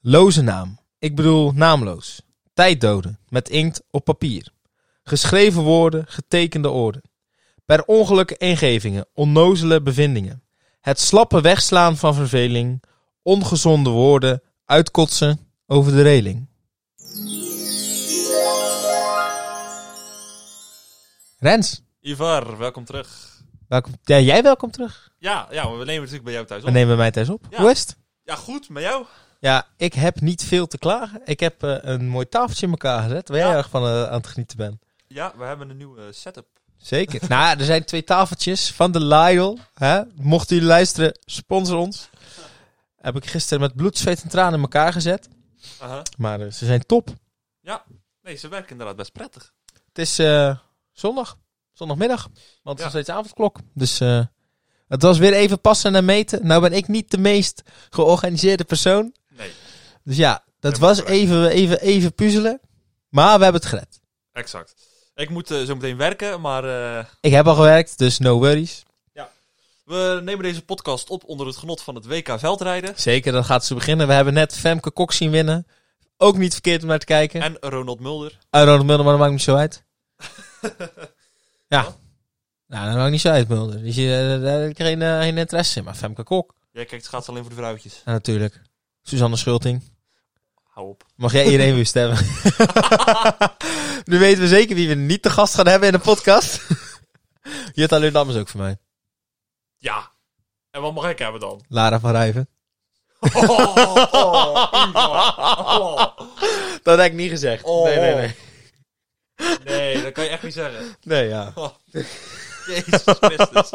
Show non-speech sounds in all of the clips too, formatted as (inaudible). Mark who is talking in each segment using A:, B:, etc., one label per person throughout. A: Loze naam. Ik bedoel naamloos. Tijd doden. Met inkt op papier. Geschreven woorden, getekende orde. Per ongeluk ingevingen, onnozele bevindingen. Het slappe wegslaan van verveling. Ongezonde woorden, uitkotsen over de reling. Rens,
B: Ivar, welkom terug.
A: welkom. Ja, jij welkom terug.
B: Ja, ja, maar we nemen natuurlijk bij jou thuis
A: We
B: op.
A: nemen mij thuis op.
B: Ja.
A: Hoe is het?
B: Ja, goed, met jou?
A: Ja, ik heb niet veel te klagen. Ik heb eh, een mooi tafeltje in elkaar gezet, waar jij
B: Ja.
A: erg van eh, aan het genieten bent.
B: Ja, we hebben een nieuwe eh, setup.
A: Zeker. (laughs) nou, er zijn twee tafeltjes van de Lidl. Hè? Mochten jullie luisteren, sponsor ons. Heb ik gisteren met bloed, zweet en tranen in elkaar gezet.
B: Aha.
A: Maar eh, ze zijn top.
B: Nee, ze werken inderdaad best prettig.
A: Het is eh, zondag. Zondagmiddag. Want het is
B: Ja.
A: nog steeds avondklok. Dus eh, het was weer even passen en meten. Nou ben ik niet de meest georganiseerde persoon.
B: Nee,
A: Dus ja, dat
B: Helemaal
A: was
B: correct.
A: even, even, even puzzelen. Maar we hebben het gered.
B: exact. Ik moet eh, zo meteen werken, maar eh,
A: Ik heb al gewerkt, dus no worries.
B: we nemen deze podcast op onder het genot van het WK veldrijden.
A: Zeker, dan gaat ze beginnen. We hebben net Femke Kok zien winnen. Ook niet verkeerd om naar te kijken. En,
B: En Ronald Mulder.
A: Ronald Mulder, maar dat maakt niet zo (laughs) uit. ja.
B: Wat?
A: Nou, dat maakt niet zo uit, Mulder. Dus je, eh, daar heb ik geen, eh, geen interesse in. Maar Femke Kok,
B: Jij kijkt schaats alleen voor de vrouwtjes.
A: ja, natuurlijk. Suzanne Schulting.
B: Hou op.
A: Mag jij iedereen weer (laughs) stemmen? nu weten we zeker wie we niet te gast gaan hebben in de podcast. (laughs) Jutta Leerdam is ook voor mij.
B: Ja. En wat mag ik hebben dan?
A: Lara van Rijven.
B: (laughs) Oh, oh, Ivar. Oh.
A: Dat heb ik niet gezegd.
B: Oh.
A: Nee, nee, nee.
B: Nee, dat kan je echt niet zeggen.
A: Nee, ja.
B: Oh. Jezus Christus.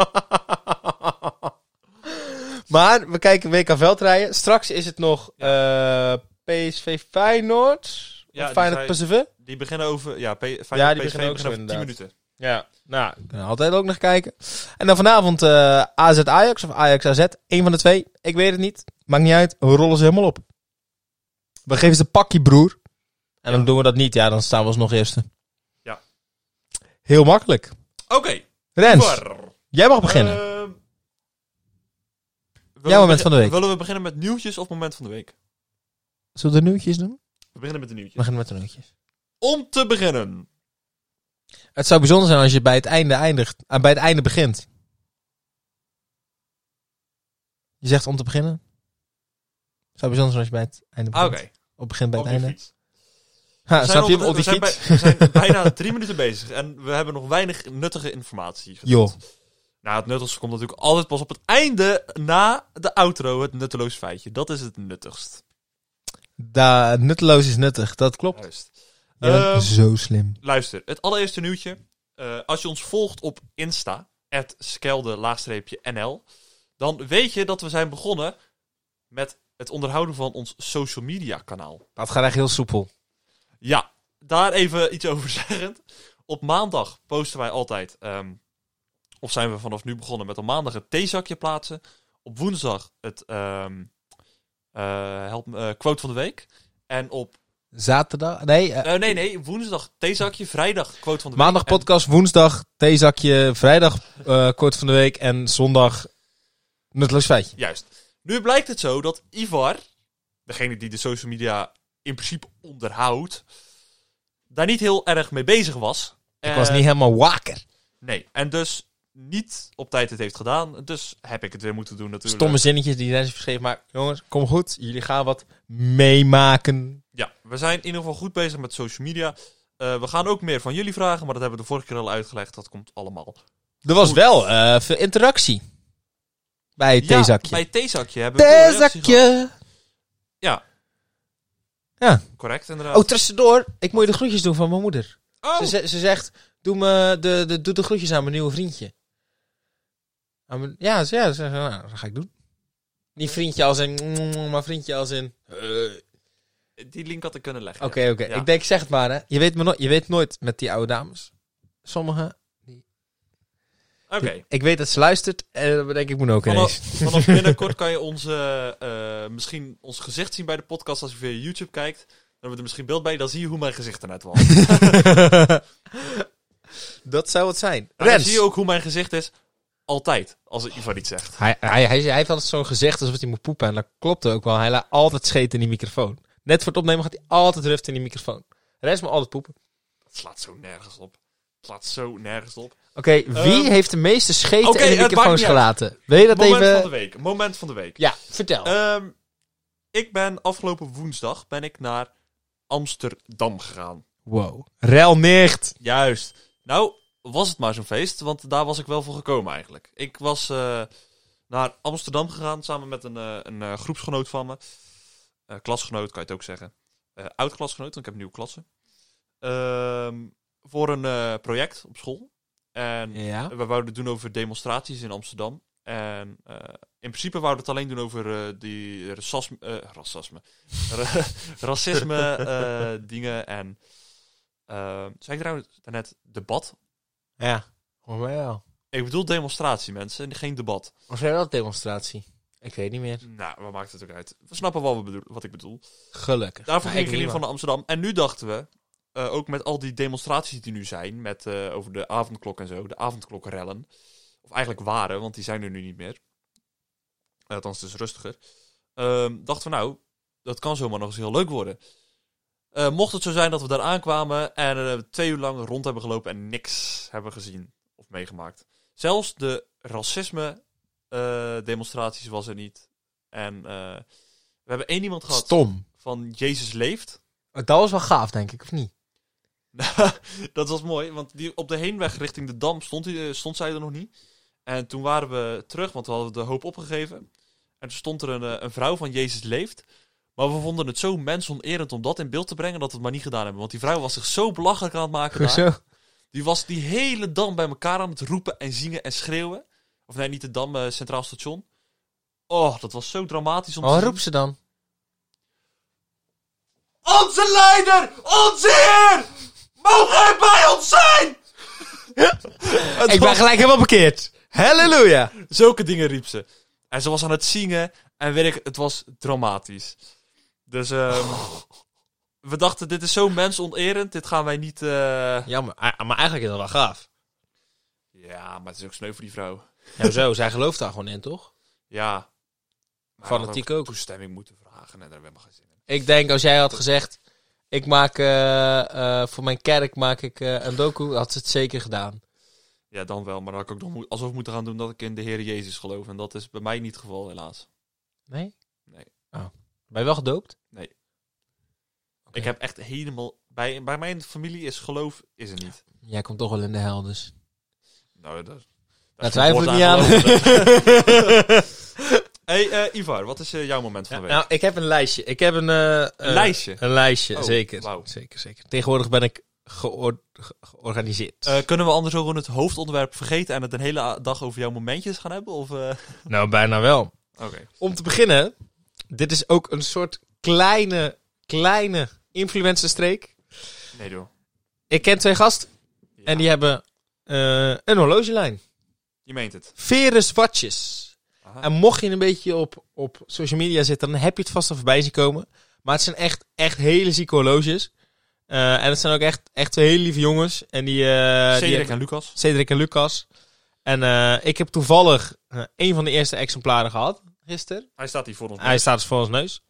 A: Maar we kijken WK veldrijden. Straks is het nog eh, PSV Feyenoord.
B: Ja,
A: of
B: die
A: Feyenoord
B: zei-
A: PSV.
B: Die beginnen over... Ja, P Feyenoord,
A: Ja,
B: ja,
A: die
B: die PSV
A: beginnen
B: beginnen,
A: ook zo
B: over 10
A: inderdaad.
B: minuten.
A: Ja, nou, we kunnen altijd ook nog kijken. En dan vanavond eh, AZ Ajax of Ajax AZ. Eén van de twee. Ik weet het niet. Maakt niet uit. We rollen ze helemaal op. We geven ze een pakje, broer. En dan doen we dat niet. Ja, dan staan we alsnog eerste.
B: Ja.
A: Heel makkelijk.
B: Oké,
A: Rens,
B: Ivar.
A: jij mag beginnen.
B: Ehm, willen
A: Jouw
B: we
A: moment
B: begi-
A: van de week.
B: Willen we beginnen met nieuwtjes of moment van de week?
A: Zullen we de nieuwtjes doen?
B: We beginnen met de nieuwtjes.
A: We beginnen met de nieuwtjes.
B: Om te beginnen.
A: Het zou bijzonder zijn als je bij het einde eindigt, eh, bij het einde begint. Je zegt om te beginnen. Het zou bijzonder zijn als je bij het einde
B: Ah,
A: begint.
B: Oké,
A: Op begin bij
B: op
A: het
B: die
A: einde.
B: fiets.
A: Ha,
B: We
A: snap je
B: zijn
A: hem op
B: we
A: die
B: zijn
A: fiets?
B: bij- we zijn (laughs) bijna drie minuten bezig en we hebben nog weinig nuttige informatie. gedaan.
A: Joh,
B: Nou, het nuttigste komt natuurlijk altijd pas op het einde, na de outro, het nutteloos feitje. Dat is het nuttigst.
A: da, nutteloos is nuttig. Dat klopt.
B: Juist.
A: Je bent
B: Ehm,
A: zo slim.
B: Luister, het allereerste nieuwtje. Eh, als je ons volgt op Insta, at skelde-nl, dan weet je dat we zijn begonnen met het onderhouden van ons social media kanaal.
A: Dat gaat echt heel soepel.
B: Ja, daar even iets over (laughs) zeggend. Op maandag posten wij altijd, ehm, of zijn we vanaf nu begonnen met op maandag het theezakje plaatsen. Op woensdag het ehm, eh, help, me, eh, quote van de week. En op,
A: Zaterdag? Nee, eh,
B: eh, nee, nee, woensdag theezakje, vrijdag quote van de
A: maandag
B: week. en-
A: podcast, woensdag theezakje, vrijdag eh, kort van de week en zondag nutteloos feitje.
B: Juist. Nu blijkt het zo dat Ivar, degene die de social media in principe onderhoudt, daar niet heel erg mee bezig was.
A: Ik was niet helemaal wakker.
B: Nee, en dus niet op tijd het heeft gedaan. Dus heb ik het weer moeten doen natuurlijk.
A: Stomme zinnetjes die Rens verschreef. Maar jongens, kom goed. Jullie gaan wat meemaken.
B: Ja, we zijn in ieder geval goed bezig met social media. Eh, we gaan ook meer van jullie vragen, maar dat hebben we de vorige keer al uitgelegd. Dat komt allemaal.
A: Er was
B: Goed.
A: wel eh, veel interactie. Bij het theezakje.
B: Ja, bij het theezakje hebben we veel reacties gehad.
A: theezakje.
B: Correct, inderdaad.
A: Oh, tussendoor. Ik moet je de groetjes doen van mijn moeder.
B: Oh,
A: Ze, ze, ze zegt, doe, me de, de, doe de groetjes aan mijn nieuwe vriendje. Aan mijn- ja, ze, ja ze, nou, dat ga ik doen. Niet vriendje als in, mm, maar vriendje als in... eh,
B: die link had ik kunnen leggen.
A: Oké,
B: ja.
A: oké. Ik denk, ik zeg het maar, hè. Je weet, me no- je weet nooit met die oude dames. Sommigen.
B: Oké.
A: Ik weet dat ze luistert. En dan denk ik, ik moet ook
B: Vanaf,
A: eens.
B: vanaf binnenkort kan je ons, eh, eh, misschien ons gezicht zien bij de podcast als je via YouTube kijkt. Dan hebben we er misschien beeld bij, dan zie je hoe mijn gezicht
A: (laughs)
B: eruit was.
A: dat zou het zijn.
B: En dan
A: Rens.
B: zie je ook hoe mijn gezicht is Altijd, als Ivan iets zegt.
A: Hij, hij, hij, hij heeft altijd zo'n gezegd alsof hij moet poepen. En dat klopt ook wel. Hij laat altijd scheten in die microfoon. Net voor het opnemen gaat hij altijd ruft in die microfoon. De rest moet altijd poepen.
B: Het slaat zo nergens op. Het slaat zo nergens op.
A: Oké, wie
B: Ehm,
A: heeft de meeste scheten in
B: oké,
A: de
B: het maakt
A: microfoons
B: niet uit.
A: gelaten? Wil je dat
B: Moment
A: even...
B: van de week. Moment van de week.
A: Ja, vertel.
B: Ehm, ik ben afgelopen woensdag ben ik naar Amsterdam gegaan.
A: wow. Rel nicht.
B: Juist. Nou, was het maar zo'n feest, want daar was ik wel voor gekomen eigenlijk. Ik was eh, naar Amsterdam gegaan samen met een, eh, een eh, groepsgenoot van me. Eh, klasgenoot, kan je het ook zeggen. Eh, Oud-klasgenoot, want ik heb een nieuwe klasse. Ehm, voor een eh, project op school. En
A: Ja.
B: we wouden het doen over demonstraties in Amsterdam. En eh, in principe wouden we het alleen doen over eh, die rassasme, eh, rassasme. (laughs) Ra- racisme (laughs) eh, dingen. En eh, zei ik trouwens daarnet debat?
A: Ja. Hoor mij wel.
B: Ik bedoel demonstratie, mensen. en Geen debat.
A: Of zijn dat demonstratie? Ik weet niet meer.
B: Nou, wat maakt het ook uit? We snappen wel wat, bedoel- wat ik bedoel.
A: Gelukkig.
B: Daarvoor
A: Maar
B: ging ik in
A: niet
B: ieder geval
A: waar.
B: naar Amsterdam. En nu dachten we, eh, ook met al die demonstraties die nu zijn, met, eh, over de avondklok en zo, de avondklokrellen. Of eigenlijk waren, want die zijn er nu niet meer. Eh, althans, het is rustiger. Ehm, dachten we, nou, dat kan zomaar nog eens heel leuk worden. Eh, mocht het zo zijn dat we daar aankwamen en eh, twee uur lang rond hebben gelopen en niks hebben gezien of meegemaakt. Zelfs de racisme-demonstraties was er niet. En eh, we hebben één iemand gehad
A: Stom.
B: van Jezus leeft. (laughs)
A: Dat was wel gaaf, denk ik, of niet?
B: dat was mooi, want die, op de heenweg richting de Dam stond, die, eh, stond zij er nog niet. En toen waren we terug, want we hadden de hoop opgegeven. En toen stond er een, eh, een vrouw van Jezus leeft. Maar we vonden het zo mensonerend om dat in beeld te brengen dat we het maar niet gedaan hebben. Want die vrouw was zich zo belachelijk aan het maken. daar.
A: Hoezo?
B: Die was die hele dam bij elkaar aan het roepen en zingen en schreeuwen. Of nee, niet de dam, eh, Centraal Station. Oh, dat was zo dramatisch om te
A: Oh,
B: zien.
A: roep ze dan.
B: Onze leider, onze heer, mogen hij bij ons zijn! Het
A: Ik ben
B: was-
A: gelijk helemaal parkeerd. Halleluja.
B: Zulke dingen riep ze. En ze was aan het zingen en weet ik, het was dramatisch. Dus ehm, we dachten, dit is zo mensonerend, dit gaan wij niet... eh,
A: Jammer, Ah, maar eigenlijk is dat wel gaaf.
B: Ja, maar het is ook sneu voor die vrouw.
A: Ja, zo, zij gelooft daar gewoon in, toch?
B: Ja. Maar
A: Fanatiek
B: we hadden
A: ook.
B: Toestemming moeten vragen en daar hebben we geen zin in.
A: Ik denk, als jij had gezegd... Ik maak, eh, eh, voor mijn kerk maak ik eh, een docu, had ze het zeker gedaan.
B: Ja, dan wel, maar dan had ik ook nog moe- alsof moeten gaan doen dat ik in de Heer Jezus geloof. En dat is bij mij niet het geval, helaas.
A: Nee?
B: Nee.
A: Oh. Ben je wel gedoopt? Oké.
B: Ik heb echt helemaal... Bij, bij mijn familie is geloof is er niet.
A: Jij komt toch wel in de hel, dus.
B: Nou, dat,
A: Daar twijfel ik niet aan. (laughs)
B: hey, eh, Ivar, wat is eh, jouw moment van de week?
A: nou, ik heb een lijstje. Ik heb een... eh,
B: een
A: eh,
B: lijstje.
A: Een lijstje,
B: Oh,
A: zeker.
B: wauw.
A: Zeker, zeker. Tegenwoordig ben ik geor- ge- georganiseerd.
B: Eh, kunnen we anders ook gewoon het hoofdonderwerp vergeten en het een hele a- dag over jouw momentjes gaan hebben? Of, eh?
A: nou, bijna wel.
B: Oké. (laughs)
A: Om te beginnen, dit is ook een soort kleine, kleine influencerstreek.
B: Nee, doe.
A: Ik ken twee gasten
B: Ja.
A: en die hebben eh, een horlogelijn.
B: Je meent het.
A: Verus Watches.
B: Aha.
A: En mocht je een beetje op, op social media zitten, dan heb je het vast al voorbij zien komen. Maar het zijn echt, echt hele zieke horloges. Eh, en het zijn ook echt, echt twee hele lieve jongens. En die, eh, die
B: Cedric
A: hebben-
B: en Lucas.
A: Cedric en Lucas. En eh, ik heb toevallig eh, een van de eerste exemplaren gehad gisteren.
B: Hij staat hier voor ons.
A: Hij staat dus voor ons neus.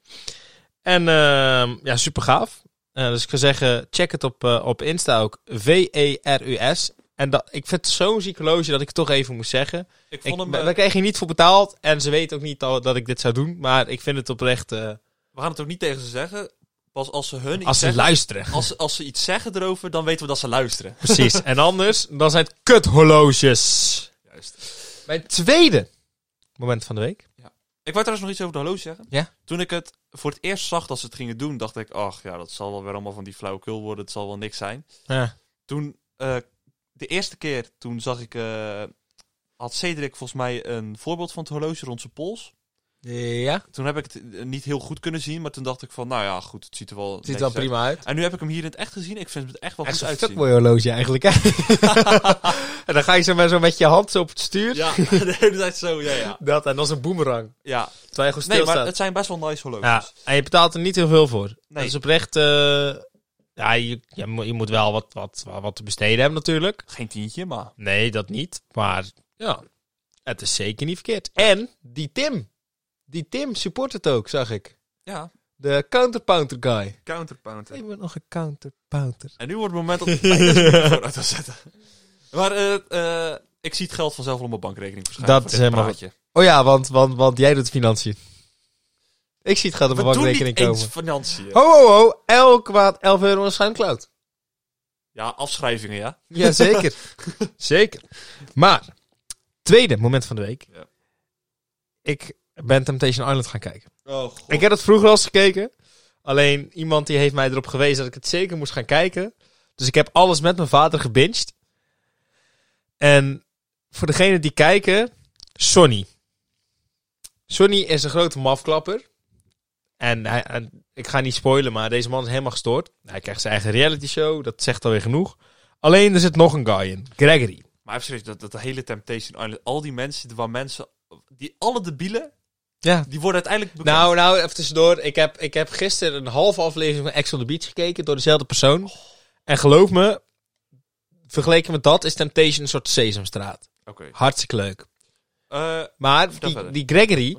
A: En ehm, ja, super gaaf. Eh, dus ik zou zeggen, check het op, eh, op Insta ook. E V-E-R-U-S. En dat, ik vind het zo'n ziek horloge dat ik het toch even moest zeggen.
B: ik
A: Ik,
B: vond hem... eh,
A: daar kreeg je niet voor betaald. En ze weet ook niet al dat ik dit zou doen. Maar ik vind het oprecht... eh,
B: we gaan het ook niet tegen ze zeggen. Pas als ze hun iets
A: als ze
B: zeggen- (laughs)
A: luisteren.
B: als, als ze iets zeggen erover, dan weten we dat ze luisteren.
A: Precies. en anders, dan zijn het kuthorloges.
B: Juist.
A: Mijn tweede moment van de week.
B: Ik wou trouwens nog iets over de horloge zeggen.
A: Ja?
B: Toen ik het voor het eerst zag dat ze het gingen doen, dacht ik... Ach, ja, dat zal wel weer allemaal van die flauwekul worden. Het zal wel niks zijn.
A: Ja.
B: toen eh, de eerste keer toen zag ik eh, had Cedric volgens mij een voorbeeld van het horloge rond zijn pols.
A: ja.
B: Toen heb ik het eh, niet heel goed kunnen zien, maar toen dacht ik van, nou ja, goed, het ziet er wel.
A: Het ziet er wel
B: netjes
A: prima uit.
B: uit. En nu heb ik hem hier in het echt gezien. Ik vind het echt wel
A: Echt
B: goed
A: een stuk
B: uitzien.
A: mooi horloge eigenlijk. Hè? (laughs) en dan ga je zo met, zo met je hand zo op het stuur.
B: Ja, (laughs) de hele tijd zo, ja, ja.
A: Dat en dat is een boemerang.
B: ja.
A: Terwijl je gewoon
B: Nee,
A: stilstaat.
B: maar het zijn best wel nice horloges.
A: ja, en je betaalt er niet heel veel voor.
B: Nee.
A: Dat is oprecht... eh, Ja, je, je, moet- je moet wel wat, wat, wat te besteden hebben natuurlijk.
B: Geen tientje, maar
A: Nee, dat niet. Maar ja, Het is zeker niet verkeerd. En die Tim. Die Tim support het ook, zag ik.
B: Ja,
A: De counterpounter guy.
B: counterpounter.
A: Ik ben nog een counterpounter.
B: (laughs) En nu wordt het moment dat ik de microfoon uit wil zetten. Maar eh, eh, ik zie het geld vanzelf al op mijn bankrekening verschijnen.
A: Dat
B: voor
A: is
B: dit
A: helemaal
B: praatje.
A: Oh ja, want, want, want jij doet financiën. Ik zie het gaat op
B: We
A: mijn
B: doen
A: bankrekening
B: niet eens
A: komen. Oh.
B: financiën.
A: Ho, ho, ho. Elk kwaad 11 euro aan SoundCloud.
B: Ja, afschrijvingen, ja. (laughs)
A: Jazeker. zeker. Maar, tweede moment van de week.
B: Ja.
A: Ik ben Temptation Island gaan kijken.
B: Oh, god.
A: Ik heb dat vroeger al eens gekeken. Alleen iemand die heeft mij erop gewezen dat ik het zeker moest gaan kijken. Dus ik heb alles met mijn vader gebinged. En voor degene die kijken, Sonny. Sonny is een grote mafklapper. En, hij, en ik ga niet spoilen, maar deze man is helemaal gestoord. Hij krijgt zijn eigen reality show, dat zegt alweer genoeg. Alleen er zit nog een guy in, Gregory.
B: Maar even serieus, dat, dat hele Temptation Island, al die mensen, waar mensen, die alle debielen,
A: Ja,
B: die worden uiteindelijk
A: (laughs)
B: bekend.
A: Nou, nou, even tussendoor. Ik heb, ik heb gisteren een halve aflevering van Ex on the Beach gekeken door dezelfde persoon.
B: Oh.
A: En geloof me, vergeleken met dat is Temptation een soort sesamstraat.
B: Oké.
A: Hartstikke leuk.
B: Eh,
A: Maar
B: Vertel
A: die,
B: verder.
A: die Gregory,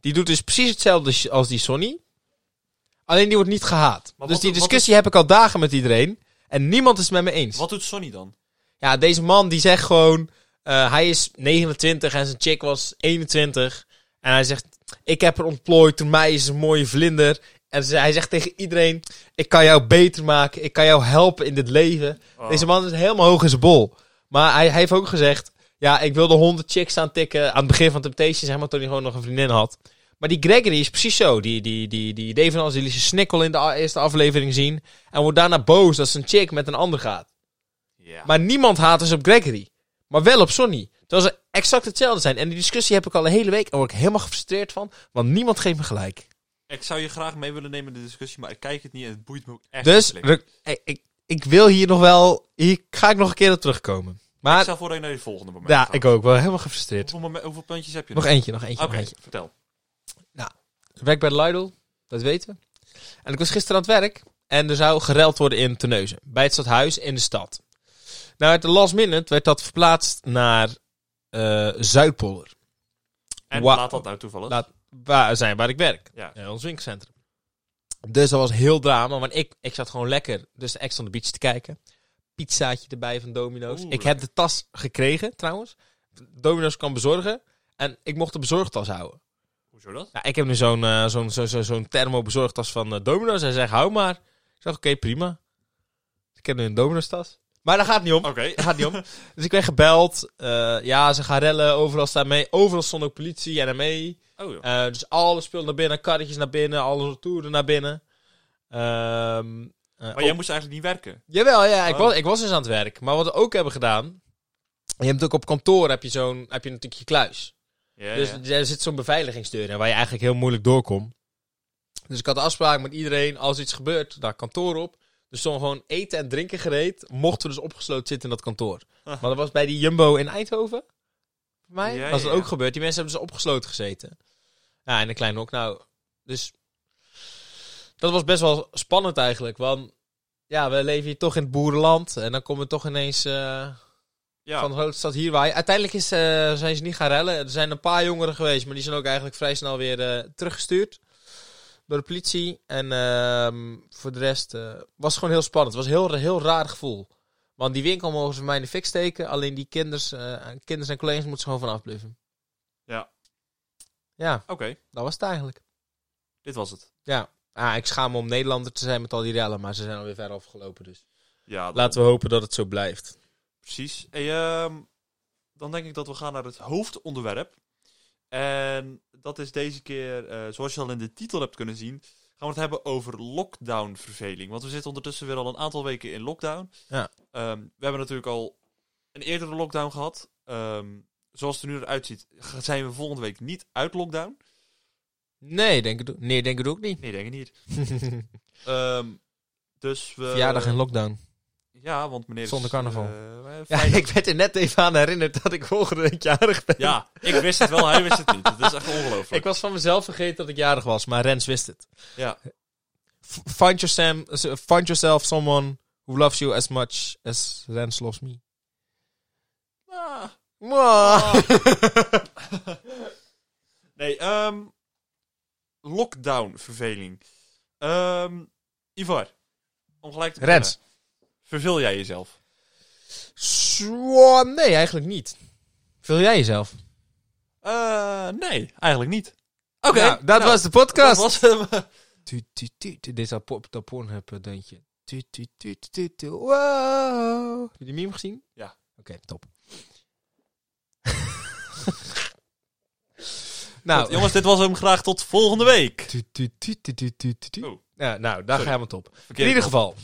A: die doet dus precies hetzelfde sh- als die Sonny. Alleen die wordt niet gehaat.
B: wat
A: dus die
B: doet- wat
A: discussie heb ik al dagen met iedereen. En niemand is het met me eens.
B: wat doet Sonny dan?
A: Ja, deze man die zegt gewoon... eh, hij is 29 en zijn chick was 21. En hij zegt... Ik heb haar ontplooid, door mij is een mooie vlinder. En ze- hij zegt tegen iedereen... Ik kan jou beter maken. Ik kan jou helpen in dit leven.
B: Oh.
A: Deze man is helemaal hoog in zijn bol. Maar hij, hij heeft ook gezegd... Ja, ik wilde honderd chicks aantikken. Aan het begin van Temptation, zeg maar, toen hij gewoon nog een vriendin had. Maar die Gregory is precies zo. Die, die, die, die deed van alles. Die liet zijn snikkel in de a- eerste aflevering zien. En wordt daarna boos dat zijn chick met een ander gaat.
B: Ja.
A: Maar niemand haat dus op Gregory. Maar wel op Sonny. Terwijl ze exact hetzelfde zijn. En die discussie heb ik al een hele week. En word ik helemaal gefrustreerd van. Want niemand geeft me gelijk.
B: Ik zou je graag mee willen nemen in de discussie, maar ik kijk het niet en het boeit me ook echt
A: dus
B: niet.
A: Ruk- ik, ik, ik wil hier nog wel... Hier ga ik nog een keer op terugkomen.
B: Ik
A: Maar
B: zou voor dat je naar die volgende moment
A: ja,
B: gaat.
A: ik ook. Wel helemaal gefrustreerd.
B: Hoeveel, momen- hoeveel puntjes heb je
A: Nog eentje, nog eentje,
B: Oké,
A: nog eentje.
B: vertel.
A: Werk bij de Lidl. Dat weten we. En ik was gisteren aan het werk. En er zou gereld worden in Terneuzen. Bij het stadhuis in de stad. Nou, at de last minute werd dat verplaatst naar eh Zuidpolder.
B: En
A: Wa-
B: laat dat nou toevallig.
A: Laat- waar zijn waar ik werk.
B: Ja.
A: Eh, ons winkelcentrum. Dus dat was heel drama, want ik, ik zat gewoon lekker dus de Ex on the Beach te kijken. Pizzaatje erbij van Domino's.
B: Oeh,
A: ik heb de tas gekregen trouwens. Domino's kan bezorgen en ik mocht de bezorgtas houden.
B: Hoezo dat?
A: Nou, ik heb nu zo'n eh, zo'n zo, zo, zo'n thermo bezorgtas van eh, Domino's. Hij zegt, hou maar. Ik zeg, oké, prima. Ik heb nu een Domino's tas. Maar daar gaat het niet om.
B: Oké. Oh,
A: Het gaat niet
B: (laughs)
A: om. Dus ik werd gebeld. Eh, ja, ze gaan rellen. Overal staan mee. Overal stond ook politie en mee.
B: Oh, joh.
A: Eh, dus alles spullen naar binnen, karretjes naar binnen, alle retouren naar binnen. Ehm, eh,
B: Maar jij
A: op-
B: moest eigenlijk niet werken.
A: Jawel, ja, ik,
B: Oh.
A: was, ik was dus aan het werk. Maar wat we ook hebben gedaan, je hebt ook op kantoor heb je, zo'n, heb je natuurlijk je kluis.
B: Ja,
A: dus
B: ja.
A: er zit zo'n beveiligingsdeur in waar je eigenlijk heel moeilijk doorkomt. Dus ik had een afspraak met iedereen, als iets gebeurt, naar kantoor op. Dus stond gewoon eten en drinken gereed, mochten we dus opgesloten zitten in dat kantoor.
B: Ah.
A: Maar dat was bij die Jumbo in Eindhoven. Voor mij
B: Ja,
A: was dat
B: ja,
A: ook
B: ja.
A: gebeurd. Die mensen hebben ze opgesloten gezeten. Ja, in een kleine hok. Nou, dus dat was best wel spannend eigenlijk. Want ja, we leven hier toch in het boerenland. En dan komen we toch ineens eh,
B: Ja.
A: van de grote stad hier waaien. Uiteindelijk is, eh, zijn ze niet gaan rellen. Er zijn een paar jongeren geweest, maar die zijn ook eigenlijk vrij snel weer eh, teruggestuurd. Door de politie. En ehm, voor de rest eh, was het gewoon heel spannend. Het was een heel, heel raar gevoel. Want die winkel mogen ze voor mij in de fik steken. Alleen die kinders, eh, kinders en collega's moeten ze gewoon van afbluffen.
B: Ja.
A: Ja,
B: Oké,
A: dat was het eigenlijk.
B: dit was het.
A: Ah, ik schaam me om Nederlander te zijn met al die rellen, maar ze zijn alweer ver afgelopen. Dus.
B: Ja, dat-
A: Laten we hopen dat het zo blijft.
B: precies. Hey, ehm, dan denk ik dat we gaan naar het hoofdonderwerp. En dat is deze keer, eh, zoals je al in de titel hebt kunnen zien, gaan we het hebben over lockdown-verveling. Want we zitten ondertussen weer al een aantal weken in lockdown.
A: Ja.
B: Ehm, we hebben natuurlijk al een eerdere lockdown gehad. Ehm, zoals het er nu eruit ziet, g- zijn we volgende week niet uit lockdown.
A: Nee, denk het, nee, denk het ook niet. (laughs)
B: Nee, denk ik niet. Ehm, dus we...
A: Verjaardag in lockdown.
B: Ja, want meneer... is,
A: Zonder carnaval.
B: eh, eh,
A: Ja, (laughs) ik werd er net even aan herinnerd dat ik volgende week jarig ben.
B: Ja, ik wist het wel, hij wist het niet. Dat is echt ongelooflijk.
A: Ik was van mezelf vergeten dat ik jarig was, maar Rens wist het.
B: Ja.
A: F- Find, your Sam, find yourself someone who loves you as much as Rens loves me.
B: Ah,
A: Mwah. (laughs)
B: nee, ehm lockdown verveling. Ehm Ivar, om gelijk te beginnen.
A: Rens.
B: Verveel jij jezelf?
A: Zwa- Nee, eigenlijk niet. Vul jij jezelf?
B: Eh, nee, eigenlijk niet. Oké,
A: Nou, dat
B: nou,
A: was de podcast.
B: dat was
A: (laughs)
B: hem.
A: Tu, tu, tu, tu. Dit is dat, pop, dat Pornhub eh, deuntje. Tu, tu, tu, tu, tu, tu. Wow. Heb je die meme gezien?
B: Ja.
A: Oké, top. (laughs) nou,
B: Jongens, dit was hem graag tot volgende week.
A: Tu, tu, tu, tu, tu, tu, tu, tu.
B: Oh.
A: Ja, nou, daar
B: Sorry.
A: gaan we het op. In
B: Verkeerd.
A: ieder geval.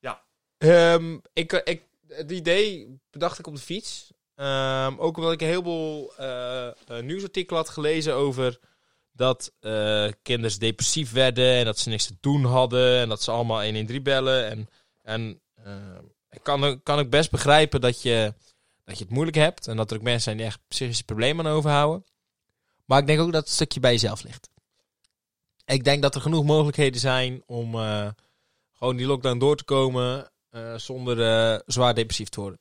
B: Ja.
A: Ehm, ik, ik, het idee bedacht ik op de fiets. Ehm, ook omdat ik een heleboel eh eh, nieuwsartikelen had gelezen over dat eh kinders depressief werden en dat ze niks te doen hadden en dat ze allemaal 113 bellen. En, en ehm, ik kan, ook- kan ik best begrijpen dat je, dat je het moeilijk hebt en dat er ook mensen zijn die echt psychische problemen aan overhouden. Maar ik denk ook dat het stukje bij jezelf ligt. Ik denk dat er genoeg mogelijkheden zijn om, eh, gewoon die lockdown door te komen eh, zonder eh, zwaar depressief te worden.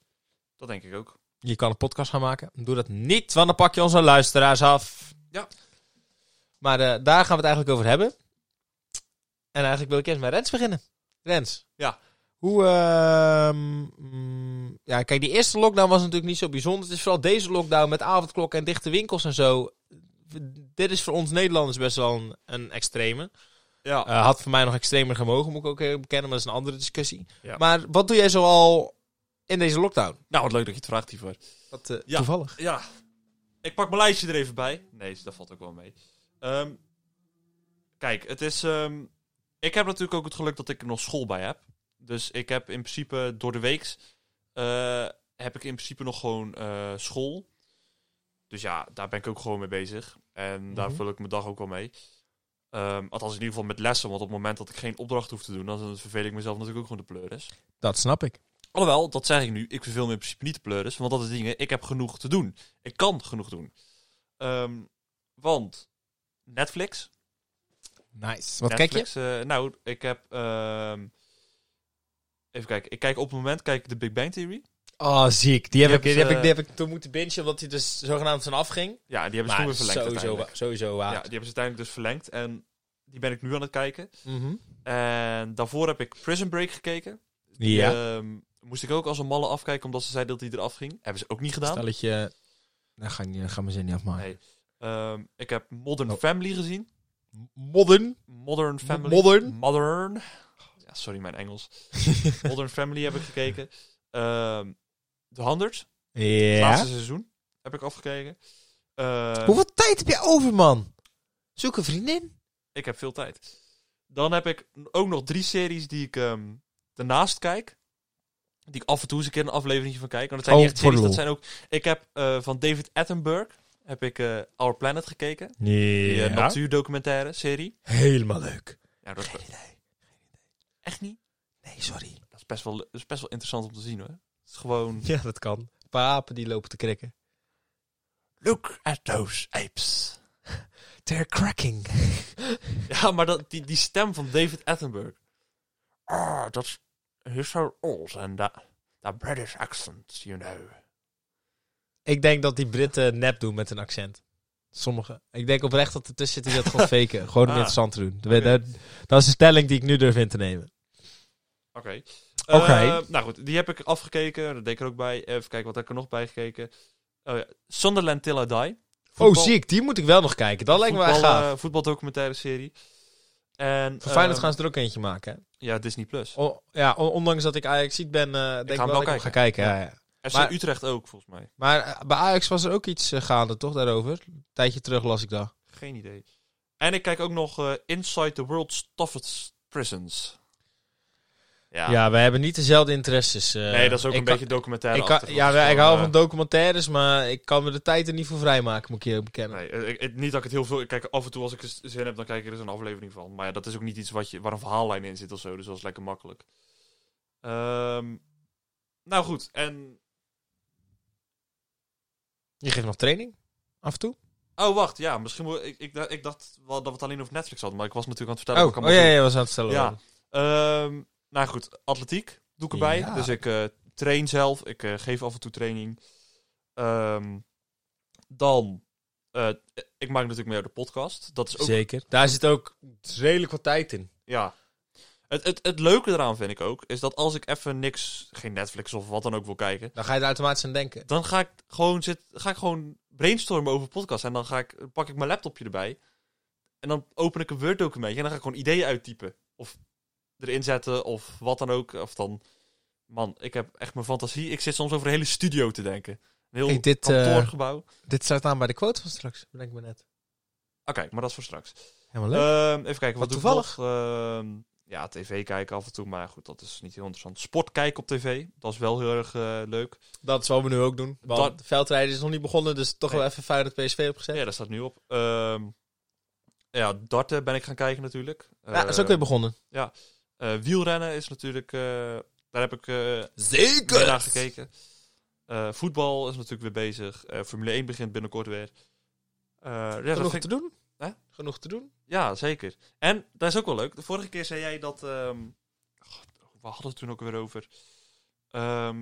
B: Dat denk ik ook.
A: Je kan een podcast gaan maken. Doe dat niet, want dan pak je onze luisteraars af.
B: Ja.
A: Maar eh, daar gaan we het eigenlijk over hebben. En eigenlijk wil ik eerst met Rens beginnen. Rens.
B: Ja.
A: Hoe, ehm, mm, ja, kijk, die eerste lockdown was natuurlijk niet zo bijzonder. Het is vooral deze lockdown met avondklokken en dichte winkels en zo. Dit is voor ons Nederlanders best wel een, een extreme.
B: Ja.
A: Eh, had voor mij nog extremer gemogen, moet ik ook eerlijk bekennen, maar dat is een andere discussie.
B: Ja.
A: Maar wat doe jij zoal in deze lockdown?
B: nou, wat leuk dat je het vraagt, Ivar.
A: Dat, eh,
B: Ja.
A: Toevallig.
B: Ja, ik pak mijn lijstje er even bij. Nee, dat valt ook wel mee. Ehm, kijk, het is. ehm, ik heb natuurlijk ook het geluk dat ik er nog school bij heb. Dus ik heb in principe door de weeks. eh, heb ik in principe nog gewoon eh, school. Dus ja, daar ben ik ook gewoon mee bezig. En daar
A: Mhm.
B: vul ik mijn dag ook wel mee. Ehm, althans, in ieder geval met lessen. Want op het moment dat ik geen opdracht hoef te doen, dan verveel ik mezelf natuurlijk ook gewoon de pleuris.
A: Dat snap ik.
B: Alhoewel, dat zeg ik nu, ik verveel me in principe niet de pleuris, want dat is dingen, ik heb genoeg te doen. Ik kan genoeg doen. Ehm, want Netflix.
A: Nice. Wat kijk je?
B: Netflix, eh, nou, ik heb... ehm, even kijken, ik kijk op het moment kijk ik de Big Bang Theory.
A: Oh, ziek. Die heb,
B: Die
A: ik, die,
B: hebben
A: heb
B: ze-
A: ik, die heb ik toen moeten bingen, omdat hij dus zogenaamd van afging.
B: Ja, die hebben ze
A: Maar
B: toen weer verlengd
A: sowieso, wa-
B: uiteindelijk.
A: sowieso
B: Ja, die
A: waard.
B: hebben ze uiteindelijk dus verlengd en die ben ik nu aan het kijken.
A: Mhm.
B: En daarvoor heb ik Prison Break gekeken. Die,
A: Ja.
B: ehm, moest ik ook als een malle afkijken, omdat ze zei dat die eraf ging. Hebben ze ook niet gedaan.
A: Stelletje... Nou, ga ik niet- ga mijn zin niet afmaken.
B: Nee. Ehm, ik heb Modern
A: Oh.
B: Family gezien.
A: Modden.
B: Modern Family.
A: Modern.
B: Modern. Ja, sorry, mijn (laughs) Engels. Modern Family heb ik gekeken. Ehm The 100. het
A: (laughs) Ja.
B: Laatste seizoen heb ik afgekeken. Ehm,
A: Hoeveel tijd heb je over, man? Zoek een vriendin.
B: Ik heb veel tijd. Dan heb ik ook nog drie series die ik ehm daarnaast kijk. Die ik af en toe eens een keer een afleveringje van kijk. Want dat zijn
A: Oh,
B: niet echt
A: voor de
B: series, dat
A: lol.
B: zijn ook... Ik heb eh, van David Attenborough heb ik eh, Our Planet gekeken. Die eh, natuurdocumentaire serie.
A: Helemaal leuk.
B: Ja, dat is echt niet.
A: Nee, sorry.
B: Dat is best wel, dat is best wel interessant om te zien hoor. Het is gewoon...
A: (laughs) Ja, dat kan. Een paar apen die lopen te krikken.
B: Look at those apes.
A: They're cracking.
B: (laughs) Ja, maar dat, die, die stem van David Attenborough. Ah, dat is... He's so old and that, that British accent, you know.
A: Ik denk dat die Britten nep doen met een accent. Sommigen. Ik denk oprecht dat er tussen zitten die dat
B: (laughs)
A: gewoon faken. Gewoon om
B: Ah.
A: interessant te doen. Dat,
B: Oké.
A: dat- dat is een stelling die ik nu durf in te nemen. Oh,
B: Oké.
A: Oké.
B: Eh, nou goed, die heb ik afgekeken. Dat deed ik er ook bij. Even kijken, wat heb ik er nog bij gekeken? Oh ja, Sunderland Till I Die.
A: Oh, ziek. Die moet ik wel nog kijken. Dat lijkt me wel echt
B: voetbal,
A: gaaf.
B: eh, voetbaldocumentaire serie. En,
A: Voor Feyenoord
B: ehm,
A: gaan ze er ook eentje maken. hè?
B: Ja, Disney+. Plus.
A: O- ja, on- ondanks dat ik Ajax ziet ben, eh, denk ik wel
B: hem wel
A: dat ik hem ga kijken. Ja, ja.
B: FC
A: maar-
B: Utrecht ook, volgens mij.
A: Maar eh, bij Ajax was er ook iets eh, gaande, toch, daarover? Een tijdje terug las ik dat.
B: Geen idee. En ik kijk ook nog eh, Inside the World's Toughest Prisons. Ja.
A: Ja, we hebben niet dezelfde interesses. eh.
B: nee, dat is ook
A: Ik
B: een
A: kan-
B: beetje documentaire. dus
A: Ik kan- ja,
B: wij
A: ik hou van documentaires, maar ik kan me de tijd er niet voor vrijmaken, moet ik je ook bekennen.
B: Nee, eh, ik- het- niet dat ik het heel veel... Ik kijk af en toe als ik er z- zin heb, dan kijk ik er eens een aflevering van. Maar ja, dat is ook niet iets wat je, waar een verhaallijn in zit of zo. Dus dat is lekker makkelijk. Ehm, nou goed, en...
A: Je geeft nog training, af en toe.
B: Oh, wacht, ja, misschien moet... Ik, ik, dacht- ik dacht wel dat we het alleen over Netflix hadden, maar ik was natuurlijk aan het vertellen...
A: Oh,
B: wat ik
A: oh ja,
B: allemaal
A: ja, je was aan het stellen.
B: Ja. Ehm, nou goed, atletiek doe ik erbij.
A: Ja.
B: Dus ik eh, train zelf. Ik eh, geef af en toe training. Ehm, Ehm, dan, eh, ik maak natuurlijk meer de podcast. Dat is ook
A: Zeker. Daar zit ook redelijk wat tijd in.
B: Ja. Het, het, het leuke eraan vind ik ook, is dat als ik even niks, geen Netflix of wat dan ook wil kijken,
A: Dan ga je er automatisch aan denken.
B: dan ga ik gewoon, zit, ga ik gewoon brainstormen over podcasts. En dan ga ik, pak ik mijn laptopje erbij en dan open ik een Word documentje en dan ga ik gewoon ideeën uittypen. Of erin zetten of wat dan ook. Of dan, man, ik heb echt mijn fantasie. Ik zit soms over een hele studio te denken. Een heel
A: Hey, dit, eh,
B: kantoorgebouw.
A: Dit staat aan bij de quote van straks, bedenk ik me net.
B: Ah, kijk, maar dat is voor straks.
A: Helemaal leuk.
B: Ehm, even kijken, wat,
A: Wat
B: toevallig. Ehm, ja, tv kijken af en toe, maar goed, dat is niet heel interessant. Sport kijken op tv, dat is wel heel erg eh, leuk.
A: dat is wat we nu ook doen. Want
B: dat-
A: de veldrijden is nog niet begonnen, dus toch wel
B: Nee.
A: even fijn dat PSV opgezet.
B: Ja, dat staat nu op. Ehm, ja, darten ben ik gaan kijken natuurlijk.
A: Ja, dat is ook weer begonnen.
B: Eh, wielrennen is natuurlijk, eh, daar heb ik eh
A: Zeker!
B: meer naar gekeken. Eh, voetbal is natuurlijk weer bezig. Eh, Formule 1 begint binnenkort weer. Eh, ja, dat
A: Genoeg
B: vind ik-
A: te doen?
B: Hè?
A: Genoeg te doen?
B: Ja, zeker. En dat is ook wel leuk. De vorige keer zei jij dat. ehm, god, we hadden het toen ook weer over. Ehm,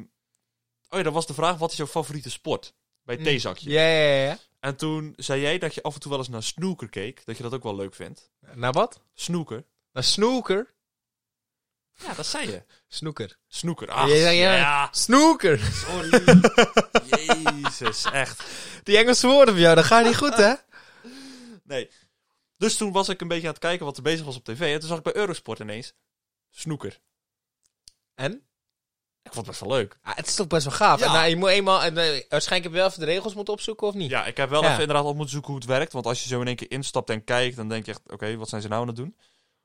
B: oh ja, dat was de vraag: wat is jouw favoriete sport? Bij
A: Mm.
B: theezakje.
A: Ja, ja, ja. ja.
B: En toen zei jij dat je af en toe wel eens naar snooker keek. Dat je dat ook wel leuk vindt.
A: Naar wat?
B: Snooker?
A: Naar snoeker?
B: Ja, dat zei je.
A: Snoeker.
B: Snoeker. Ach,
A: Ja,
B: ja,
A: ja, ja. Snoeker! (laughs)
B: sorry. Jezus, echt.
A: Die Engelse woorden van jou, dat gaat niet goed, hè?
B: Nee. Dus toen was ik een beetje aan het kijken wat er bezig was op tv. En toen zag ik bij Eurosport ineens snoeker.
A: En?
B: Ik vond het best wel leuk.
A: Ah, het is toch best wel gaaf.
B: Ja.
A: En, nou, je moet eenmaal, en, eh, waarschijnlijk heb je wel even de regels moeten opzoeken, of niet?
B: Ja, ik heb wel
A: Ja.
B: even inderdaad op moeten zoeken hoe het werkt. Want als je zo in één keer instapt en kijkt, dan denk je echt, oké, wat zijn ze nou aan het doen?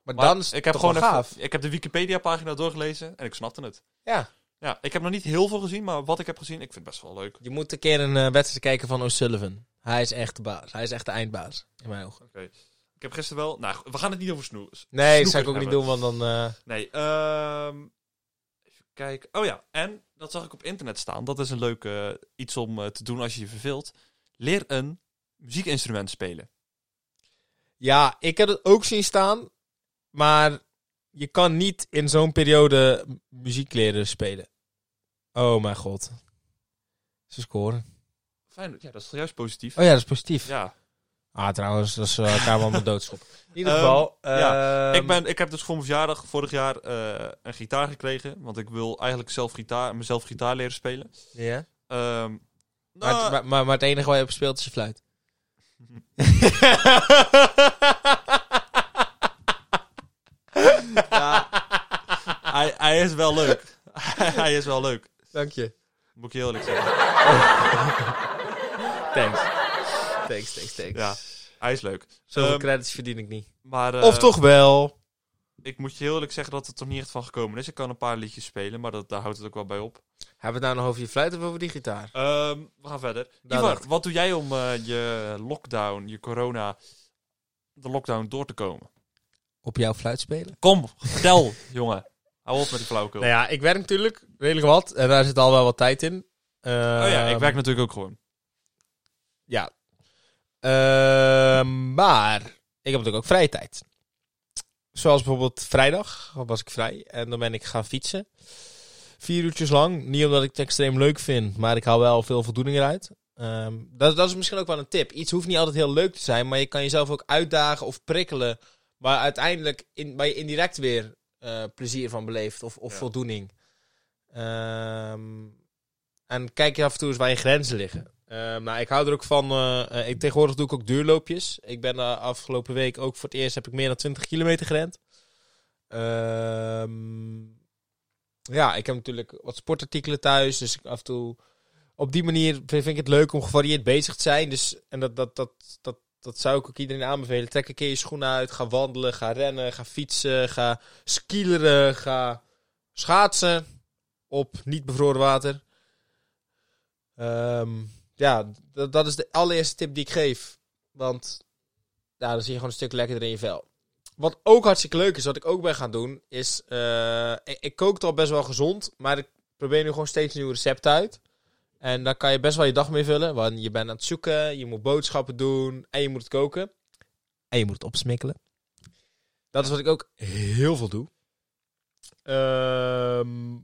A: Maar,
B: Maar
A: dan is het
B: ik heb
A: toch
B: gewoon
A: wel
B: even-
A: gaaf.
B: ik heb de Wikipedia-pagina doorgelezen en ik snapte het.
A: Ja.
B: Ja, ik heb nog niet heel veel gezien, maar wat ik heb gezien, ik vind het best wel leuk.
A: Je moet een keer een eh, wedstrijd kijken van O'Sullivan. Hij is echt de baas. Hij is echt de eindbaas, in mijn ogen.
B: Ik heb gisteren wel... Nou, we gaan het niet over snoes.
A: Nee, dat
B: Snoeker
A: zou ik ook niet
B: hebben.
A: doen, want dan... eh,
B: Nee, ehm, even kijken. Oh ja, en dat zag ik op internet staan. Dat is een leuk eh, iets om eh, te doen als je je verveelt. Leer een muziekinstrument spelen.
A: Ja, ik heb het ook zien staan. Maar je kan niet in zo'n periode m- muziek leren spelen. Oh mijn god. Ze scoren.
B: Fijn, ja, dat is toch juist positief?
A: Oh ja, dat is positief.
B: Ja.
A: Ah, trouwens, dat is eh, elkaar wel met doodschop. In ieder
B: Ehm,
A: geval...
B: ja,
A: ehm,
B: ik, ben, ik heb dus voor mijn verjaardag vorig jaar eh, een gitaar gekregen. Want ik wil eigenlijk zelf gitaar, mezelf gitaar leren spelen.
A: Ja?
B: Ehm,
A: Maar,
B: nou,
A: het, maar, maar, maar het enige waar je op speelt is je fluit. (laughs)
B: ja, (laughs) hij, hij is wel leuk. (laughs) hij is wel leuk.
A: Dank je.
B: Moet ik je heel eerlijk zeggen.
A: Thanks. Thanks, thanks, thanks.
B: Ja, hij is leuk.
A: Zoveel
B: Ehm,
A: credits verdien ik niet. Ehm,
B: maar, eh,
A: of toch wel.
B: Ik moet je heel eerlijk zeggen dat het er niet echt van gekomen is. Ik kan een paar liedjes spelen, maar dat, daar houdt het ook wel bij op.
A: Hebben we het nou nog over je fluit of over die gitaar?
B: Ehm, we gaan verder.
A: Daar
B: Ivar,
A: dacht
B: wat doe jij om eh, je lockdown, je corona, de lockdown door te komen?
A: Op jouw fluit spelen?
B: Kom, vertel, (laughs) jongen. Hou op met die flauwekul.
A: Nou ja, ik werk natuurlijk redelijk wat. En daar zit al wel wat tijd in. Ehm,
B: oh ja, ik werk natuurlijk ook gewoon.
A: Ja. Ehm, maar ik heb natuurlijk ook vrije tijd. Zoals bijvoorbeeld vrijdag was ik vrij en dan ben ik gaan fietsen. Vier uurtjes lang. Niet omdat ik het extreem leuk vind, maar ik haal wel veel voldoening eruit. Ehm, dat, dat is misschien ook wel een tip. Iets hoeft niet altijd heel leuk te zijn, maar je kan jezelf ook uitdagen of prikkelen. Waar uiteindelijk in, waar je indirect weer eh, plezier van beleeft of, of
B: Ja.
A: voldoening. Ehm, en kijk je af en toe eens waar je grenzen liggen. Ehm, nou, ik hou er ook van. eh, eh, ik, tegenwoordig doe ik ook duurloopjes. Ik ben de afgelopen week ook voor het eerst heb ik meer dan 20 kilometer gerend. Ehm, ja, ik heb natuurlijk wat sportartikelen thuis. Dus ik af en toe. Op die manier vind ik het leuk om gevarieerd bezig te zijn. Dus, en dat, dat, dat, dat, dat zou ik ook iedereen aanbevelen. Trek een keer je schoenen uit. Ga wandelen. Ga rennen. Ga fietsen. Ga skileren. Ga schaatsen. Op niet bevroren water. Ehm, ja, dat, dat is de allereerste tip die ik geef. Want ja, dan zie je gewoon een stuk lekkerder in je vel. Wat ook hartstikke leuk is, wat ik ook ben gaan doen, is... eh, ik, ik kookte al best wel gezond, maar ik probeer nu gewoon steeds nieuwe recepten uit. En daar kan je best wel je dag mee vullen, want je bent aan het zoeken, je moet boodschappen doen en je moet het koken. En je moet het opsmikkelen. Dat is wat ik ook heel veel doe. Ehm,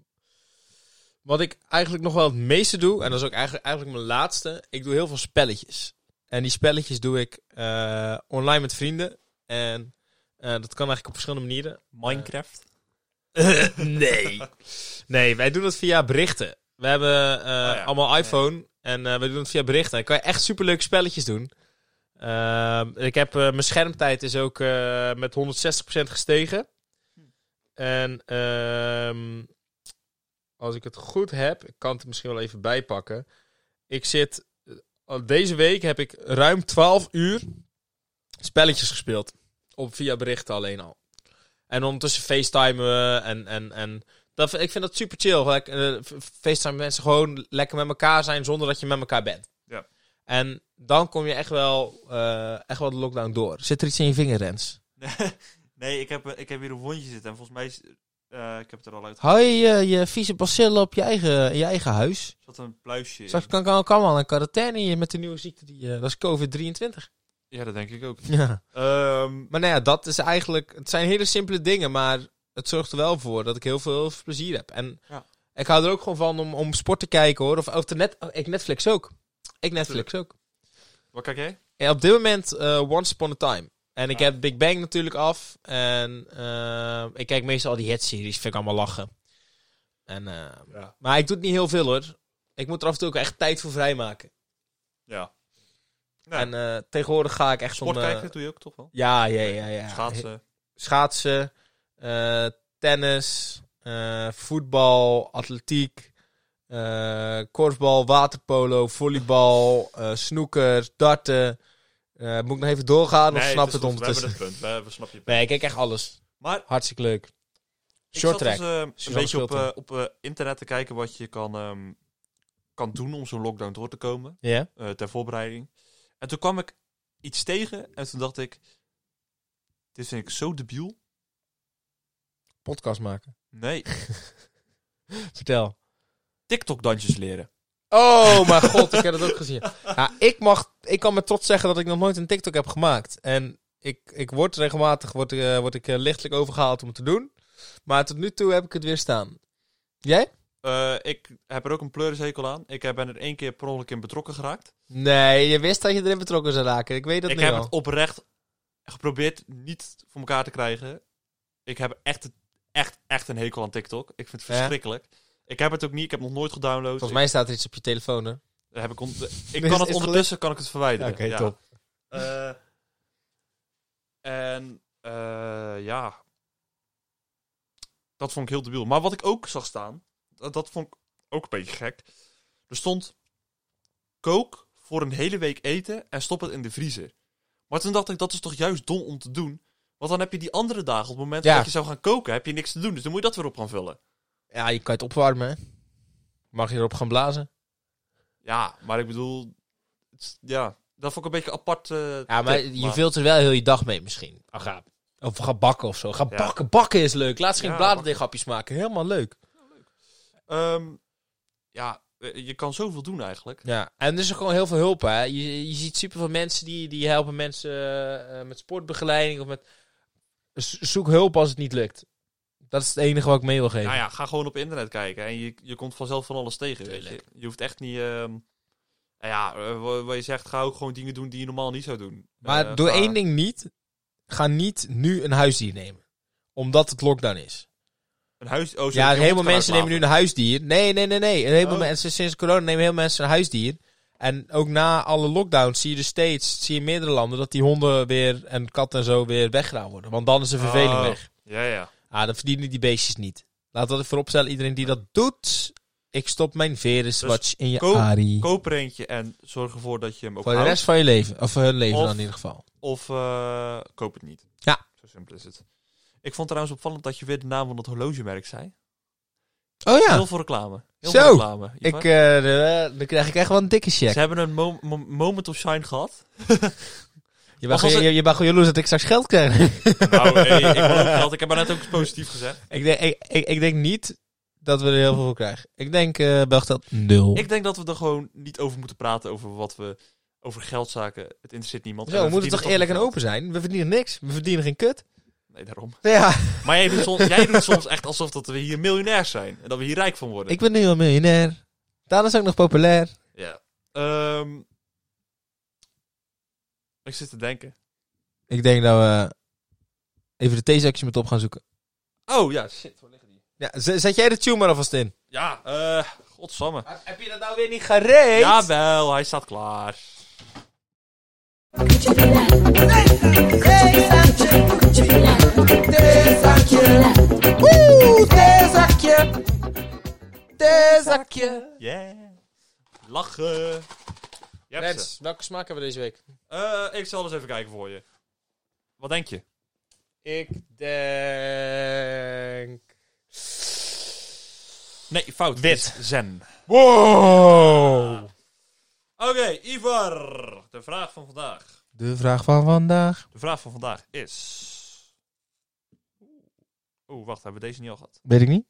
A: Wat ik eigenlijk nog wel het meeste doe, en dat is ook eigenlijk, eigenlijk mijn laatste, ik doe heel veel spelletjes. En die spelletjes doe ik eh, online met vrienden. En eh, dat kan eigenlijk op verschillende manieren.
B: Minecraft. (laughs)
A: nee. Nee, wij doen het via berichten. We hebben eh,
B: Oh ja.
A: allemaal iPhone en eh we doen het via berichten. Dan kan je echt superleuke spelletjes doen. Ehm, ik heb, eh, mijn schermtijd is ook eh, met 160% gestegen. En ehm, als ik het goed heb, ik kan het er misschien wel even bijpakken. Ik zit, eh, deze week heb ik ruim 12 uur spelletjes gespeeld. Op, via berichten alleen al. En ondertussen facetimen we en, en, en dat, vind- ik vind dat super chill. Like, eh, f- facetimen mensen gewoon lekker met elkaar zijn zonder dat je met elkaar bent.
B: Ja.
A: En dan kom je echt wel, eh, echt wel de lockdown door. Zit er iets in je vinger, Rens?
B: nee, (laughs) ik heb, eh, ik heb hier een wondje zitten en volgens mij is, eh, ik heb het er al uit.
A: Hou je je, je vieze bacillen op je eigen, in je eigen huis?
B: Er zat een pluisje in.
A: Straks kan kan ook allemaal een quarantaine in met de nieuwe ziekte. Die, eh, dat is COVID-23.
B: Ja, dat denk ik ook.
A: (laughs) Ja.
B: Ehm,
A: Maar nou ja, dat is eigenlijk... Het zijn hele simpele dingen, maar het zorgt er wel voor dat ik heel veel, heel veel plezier heb. En
B: Ja.
A: ik hou er ook gewoon van om, om sport te kijken, hoor. Of, of te net, oh, ik Netflix ook. Ik Netflix ook.
B: wat kijk jij?
A: Ja, op dit moment eh, Once Upon a Time. En ik
B: Ja.
A: heb Big Bang natuurlijk af. En eh, ik kijk meestal al die hitseries. Vind ik allemaal lachen. En, eh,
B: Ja.
A: Maar ik doe het niet heel veel hoor. Ik moet er af en toe ook echt tijd voor vrijmaken.
B: Ja.
A: maken
B: Nou,
A: En eh, tegenwoordig ga ik echt
B: sport
A: om... eh,
B: kijken doe je ook toch wel?
A: ja, ja, ja, ja.
B: Schaatsen.
A: Schaatsen, eh, tennis, eh, voetbal, atletiek, eh, korfbal, waterpolo, volleybal, eh, snoeker, darten. Eh, moet ik nog even doorgaan of
B: Nee,
A: snap
B: is
A: het,
B: goed.
A: ondertussen?
B: We hebben het punt. We, we snap je punt.
A: Nee, ik kijk echt alles.
B: Maar
A: Hartstikke leuk.
B: ik
A: Short
B: zat dus,
A: track.
B: eh, een
A: Suzanne
B: beetje op,
A: Schulten.
B: eh, op eh, internet te kijken wat je kan, ehm, kan doen om zo'n lockdown door te komen.
A: Ja?
B: eh, ter voorbereiding. En toen kwam ik iets tegen en toen dacht ik... Dit vind ik zo debiel.
A: Podcast maken.
B: Nee,
A: Vertel.
B: TikTok-dansjes
A: (laughs)
B: leren.
A: Oh mijn god, ik heb dat ook gezien. Ja, Nou, ik, mag, ik kan me trots zeggen dat ik nog nooit een TikTok heb gemaakt. En ik, ik word regelmatig word, eh, word ik, eh, lichtelijk overgehaald om het te doen. Maar tot nu toe heb ik het weer staan. Jij?
B: Eh, ik heb er ook een pleurishekel aan. Ik eh, ben er één keer per ongeluk in betrokken geraakt.
A: Nee, je wist dat je erin betrokken zou raken. Ik weet dat
B: ik
A: nu
B: heb
A: al.
B: het oprecht geprobeerd niet voor elkaar te krijgen. Ik heb echt, echt, echt een hekel aan TikTok. Ik vind het
A: Ja?
B: verschrikkelijk. Ik heb het ook niet. Ik heb het nog nooit gedownload.
A: Volgens mij staat er iets op je telefoon, hè?
B: Ik, heb
A: (laughs)
B: ik, on- ik
A: is
B: kan het
A: het
B: ondertussen kan ik het verwijderen. Ja. Eh, en eh, ja, dat vond ik heel debiel. Maar wat ik ook zag staan, dat, dat vond ik ook een beetje gek. Er stond, kook voor een hele week eten en stop het in de vriezer. Maar toen dacht ik, dat is toch juist dom om te doen? Want dan heb je die andere dagen, op het moment
A: Ja.
B: dat je zou gaan koken, heb je niks te doen. Dus dan moet je dat weer op gaan vullen.
A: Ja, je kan het opwarmen, hè? Mag je erop gaan blazen?
B: Ja, maar ik bedoel, het is- ja, dat vond ik een beetje apart. eh,
A: Ja, maar
B: tip,
A: je vult er wel heel je dag mee misschien. Ah, ga- Of ga bakken of zo. Ga
B: Oh, Ja.
A: bakken. Bakken is leuk. Laat ze geen
B: Ja,
A: bladerdeeghapjes maken. Helemaal leuk.
B: Ehm, ja, eh, je kan zoveel doen eigenlijk.
A: Ja, en er is ook gewoon heel veel hulp. Hè? Je, je ziet superveel mensen die, die helpen mensen eh, eh, met sportbegeleiding of met. Z- Zoek hulp als het niet lukt. Dat is het enige wat ik mee wil geven.
B: Nou ja, ga gewoon op internet kijken en je, je komt vanzelf van alles tegen. Weet je.
A: Tuurlijk.
B: je hoeft echt niet. ehm, nou ja, eh, wa- wat je zegt, ga ook gewoon dingen doen die je normaal niet zou doen.
A: Maar
B: Eh,
A: doe
B: ga-
A: één ding niet. Ga niet nu een huisdier nemen. Omdat het lockdown is.
B: Een huis. Oh,
A: ja, een heleboel mensen nemen nu een huisdier. Nee, nee, nee, nee. Een heleboel
B: Oh.
A: mensen sinds corona nemen heel veel mensen een huisdier. En ook na alle lockdowns zie je dus steeds, zie je in meerdere landen, dat die honden weer en katten en zo weer weggedaan worden. Want dan is de verveling
B: Oh.
A: weg.
B: Ja, ja.
A: Ah, dan verdienen die beestjes niet. Laat dat ik vooropstellen. Iedereen die dat doet, ik stop mijn viruswatch in je
B: Dus koop-
A: arie.
B: Koop er eentje en zorg ervoor dat je hem ook
A: Voor de
B: houdt.
A: rest van je leven. Of voor hun leven
B: Of-
A: dan in ieder geval.
B: Of eh, koop het niet.
A: Ja.
B: Zo simpel is het. Ik vond trouwens opvallend dat je weer de naam van dat horlogemerk zei.
A: Oh ja,
B: Heel veel reclame. Heel
A: Zo.
B: veel reclame.
A: ik,
B: Ivar.
A: eh, eh, dan krijg ik echt wel een dikke check.
B: Ze hebben een mo- mo- moment of shine gehad.
A: Je bent,
B: Mag
A: gewoon-
B: als-
A: je, je bent gewoon jaloers dat ik straks geld krijg. (laughs)
B: Nou, hey, ik, wil ook geld. ik heb maar net ook iets positiefs gezegd.
A: ik, denk, ik, ik, ik denk niet dat we er heel veel voor krijgen. Ik denk eh Belgstad nul.
B: Ik denk dat we er gewoon niet over moeten praten over wat we over geldzaken. Het interesseert niemand. En
A: Zo, we moeten
B: verdienen
A: toch eerlijk en
B: geen
A: open zijn? We verdienen niks. We verdienen geen kut.
B: Nee, daarom.
A: Ja,
B: Maar jij doet, soms, jij doet soms echt alsof dat we hier miljonairs zijn. En dat we hier rijk van worden.
A: ik ben nu al miljonair. Daarna is ook nog populair.
B: Ja. Ehm, ik zit te denken.
A: Ik denk dat we even de theezakjes met op gaan zoeken.
B: Oh ja, shit. Waar liggen die?
A: Ja, z- zet jij de tune maar alvast in.
B: Ja, eh, godsamme.
A: Heb je dat nou weer niet gereed?
B: Jawel, hij staat klaar.
A: theezakje. Theezakje.
B: Yeah. Lachen. Je hebt ze.
A: Rens, welke smaak hebben we deze week?
B: Eh, ik zal eens even kijken voor je. Wat denk je?
A: Ik denk...
B: Nee, fout.
A: Wit.
B: Het is Zen.
A: Wow.
B: Oké, Ivar. De vraag van vandaag.
A: De vraag van vandaag.
B: De vraag van vandaag is... Oeh, wacht. Hebben we deze niet al gehad?
A: Weet ik niet.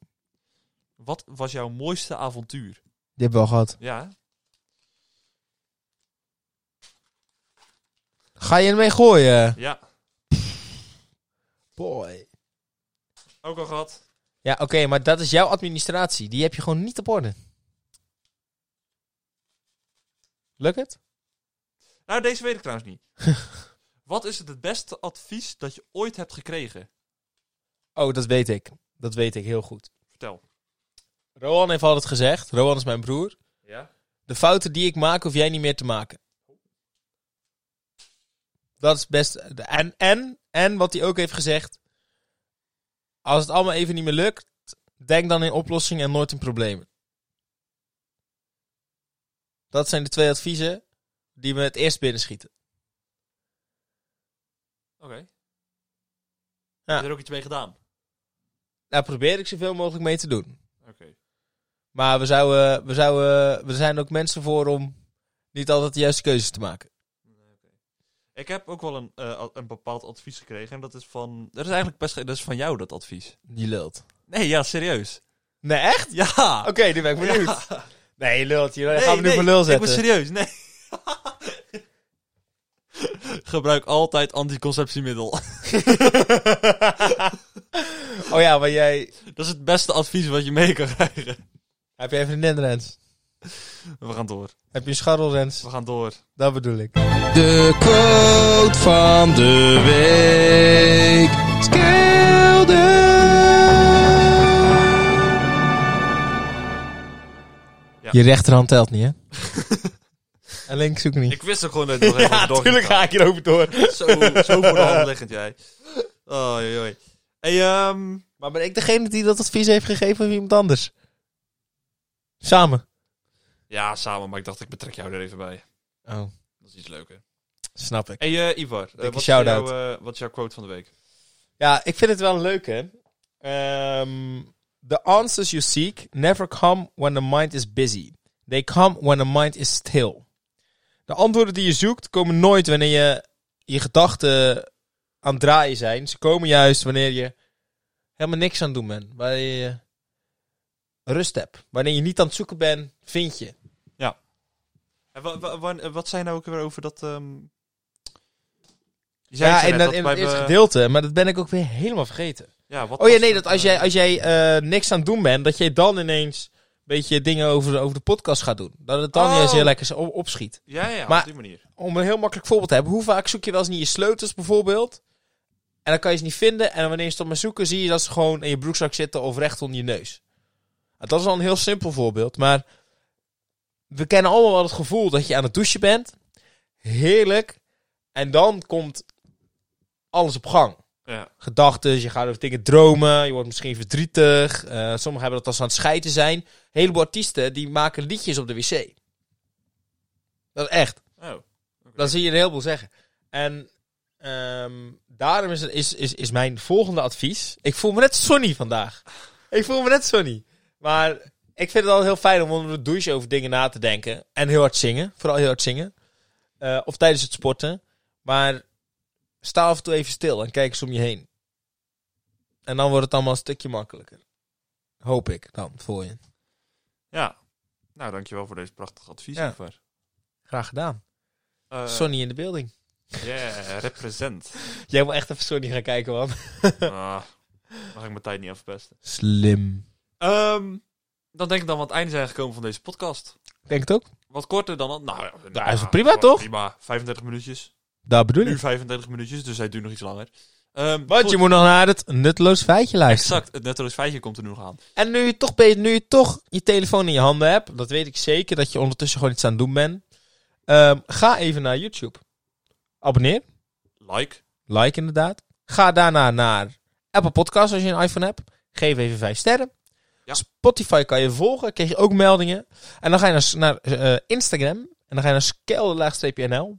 B: Wat was jouw mooiste avontuur?
A: Die hebben we al gehad.
B: Ja.
A: Ga je ermee gooien?
B: Ja.
A: Boy.
B: Ook al gehad.
A: Ja, oké, maar dat is jouw administratie. Die heb je gewoon niet op orde. Lukt het?
B: Nou, deze weet ik trouwens niet. (laughs) Wat is het, het beste advies dat je ooit hebt gekregen?
A: Oh, dat weet ik. Dat weet ik heel goed.
B: Vertel.
A: Roan heeft altijd gezegd, Roan is mijn broer.
B: Ja?
A: De fouten die ik maak, hoef jij niet meer te maken. Dat is best. En, en, en wat hij ook heeft gezegd. Als het allemaal even niet meer lukt, denk dan in oplossingen en nooit in problemen. Dat zijn de twee adviezen die me het eerst binnenschieten.
B: Oké. Heb je er ook iets mee gedaan?
A: Daar probeer ik zoveel mogelijk mee te doen.
B: Oké.
A: Maar we, zouden, we, zouden, we zijn ook mensen voor om niet altijd de juiste keuzes te maken.
B: Ik heb ook wel een, eh, a- een bepaald advies gekregen. En dat is van. Dat is eigenlijk best. ge- Dat is van jou, dat advies.
A: Die lult.
B: Nee, ja, serieus.
A: Nee, echt?
B: Ja!
A: Oké, nu ben ik benieuwd.
B: Ja.
A: Nee, je lult. Je
B: Nee,
A: gaan we nu
B: nee,
A: voor lul
B: Ik ben
A: zetten.
B: serieus, nee. (laughs) Gebruik altijd anticonceptiemiddel. (laughs)
A: oh ja, maar jij...
B: dat is het beste advies wat je mee kan krijgen.
A: Heb jij een vriendin, Rens?
B: We gaan door.
A: Heb je een scharrel, Rens?
B: We gaan door.
A: Dat bedoel ik. De quote van de week.
B: Ja.
A: Je rechterhand telt (laughs) niet, hè? en links ook niet.
B: Ik wist ook gewoon dat je (laughs) nog
A: (laughs)
B: even door ging gaan.
A: ik hierover door.
B: Zo, zo voor de hand liggend jij. Oh, joi, joi. Hey, ehm,
A: Maar ben ik degene die dat advies heeft gegeven of iemand anders? Samen.
B: ja, samen, maar ik dacht ik betrek jou er even bij.
A: Oh,
B: Dat is iets leuker.
A: snap ik.
B: Hey eh, Ivar, eh,
A: Dikke
B: wat, is
A: shout-out.
B: jouw, eh, wat is jouw quote van de week?
A: Ja, ik vind het wel leuk, hè. Ehm, the answers you seek never come when the mind is busy. They come when the mind is still. De antwoorden die je zoekt komen nooit wanneer je je gedachten aan het draaien zijn. Ze komen juist wanneer je helemaal niks aan het doen bent. Waar je rust hebt. Wanneer je niet aan het zoeken bent, vind je.
B: En wa- wa- wan- eh, wat zijn nou ook weer over dat... ehm, Je zei
A: Ja,
B: het zo
A: in,
B: net,
A: dat, in
B: wij
A: het eerste
B: be-
A: gedeelte. Maar dat ben ik ook weer helemaal vergeten.
B: Ja, wat
A: Oh ja,
B: was
A: nee,
B: het,
A: dat als
B: eh,
A: jij, als jij eh, niks aan het doen bent, dat jij dan ineens een beetje dingen over, over de podcast gaat doen. Dat het dan
B: Oh.
A: juist heel lekker zo op- opschiet.
B: Ja, ja,
A: Maar-
B: op die manier.
A: Om een heel makkelijk voorbeeld te hebben, hoe vaak zoek je wel eens niet je sleutels bijvoorbeeld? En dan kan je ze niet vinden. En wanneer je ze dan maar zoeken, zie je dat ze gewoon in je broekzak zitten of recht onder je neus. Nou, Dat is al een heel simpel voorbeeld, maar we kennen allemaal wel het gevoel dat je aan het douchen bent. Heerlijk. En dan komt alles op gang
B: Ja,
A: gedachten, je gaat over dingen dromen, je wordt misschien verdrietig. Eh, sommigen hebben dat als ze aan het scheiden zijn. Een heleboel artiesten die maken liedjes op de wc. Dat is echt.
B: oh.
A: Dan zie je een heleboel zeggen. En ehm, daarom is, is, is, is mijn volgende advies. Ik voel me net Sonny vandaag. Ik voel me net Sonny. Maar ik vind het al heel fijn om onder de douche over dingen na te denken. En heel hard zingen. Vooral heel hard zingen. Eh, of tijdens het sporten. Maar sta af en toe even stil en kijk eens om je heen. En dan wordt het allemaal een stukje makkelijker. Hoop ik dan voor je.
B: Ja. Nou, dankjewel voor deze prachtige advies,
A: Ja.
B: Ivar.
A: Graag gedaan.
B: Eh,
A: Sonny in de building.
B: Yeah, represent.
A: (laughs) Jij wil echt even Sony gaan kijken, man.
B: Ah, mag ik mijn tijd niet aan verpesten.
A: Slim.
B: Ehm, dan denk ik dat we aan het einde zijn gekomen van deze podcast.
A: Ik Denk het ook.
B: Wat korter dan... al- Nou, ja,
A: Dat is prima, toch?
B: Prima, 35 minuutjes.
A: Daar bedoel
B: Nu
A: ik.
B: 35 minuutjes, dus hij duurt nog iets langer. Ehm,
A: Want
B: goed,
A: je moet nog naar het nutteloos feitje luisteren.
B: Exact, het netto's feitje komt er nu nog aan.
A: En nu je, toch, be- nu je toch je telefoon in je handen hebt, dat weet ik zeker, dat je ondertussen gewoon iets aan het doen bent. Ehm, ga even naar YouTube. Abonneer.
B: Like,
A: Like inderdaad. Ga daarna naar Apple Podcasts als je een iPhone hebt. Geef even 5 sterren.
B: Ja.
A: Spotify kan je volgen, kreeg je ook meldingen. En dan ga je naar, s- naar eh, Instagram. En dan ga je naar skelderlaagstreepje.nl.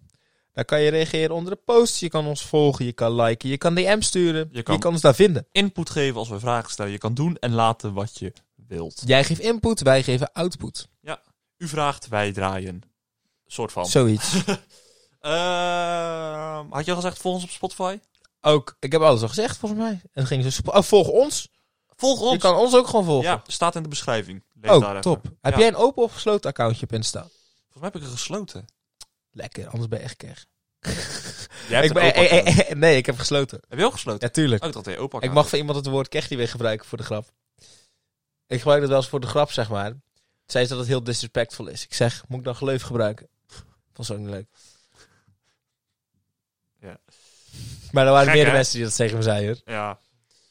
A: Daar kan je reageren onder de posts. Je kan ons volgen, je kan liken, je kan DM sturen.
B: Je kan-
A: je kan ons daar vinden.
B: input geven als we vragen stellen. Je kan doen en laten wat je wilt.
A: Jij geeft input, wij geven output.
B: U vraagt, wij draaien. Soort van.
A: Zoiets.
B: Ehm, had je al gezegd, volg ons op Spotify?
A: Ook, ik heb alles al gezegd volgens mij. En het ging zo sp- oh, volg ons.
B: Volg
A: Je
B: ons.
A: kan ons ook gewoon volgen.
B: Ja, staat in de beschrijving. Lees daar
A: oh,
B: even.
A: top. Heb
B: Ja.
A: jij een open of gesloten accountje op Insta?
B: Volgens mij heb ik er gesloten.
A: Lekker, anders ben je echt kerg.
B: Jij hebt
A: Ik ben,
B: een opa
A: eh, eh,
B: account.
A: eh, (laughs) nee, ik heb gesloten.
B: Heb je ook gesloten?
A: Ja, tuurlijk.
B: Oh, ik dacht dat je opa
A: ik mag van iemand het woord kech niet weer gebruiken voor de grap. Ik gebruik dat wel eens voor de grap, zeg maar. Zij ze dat het heel disrespectful is. Ik zeg, moet ik dan geleuf gebruiken? (laughs) Vond ze ook niet leuk.
B: Ja.
A: Maar er waren
B: Gek,
A: meerdere
B: hè?
A: mensen die dat tegen me zeiden, hoor.
B: Ja.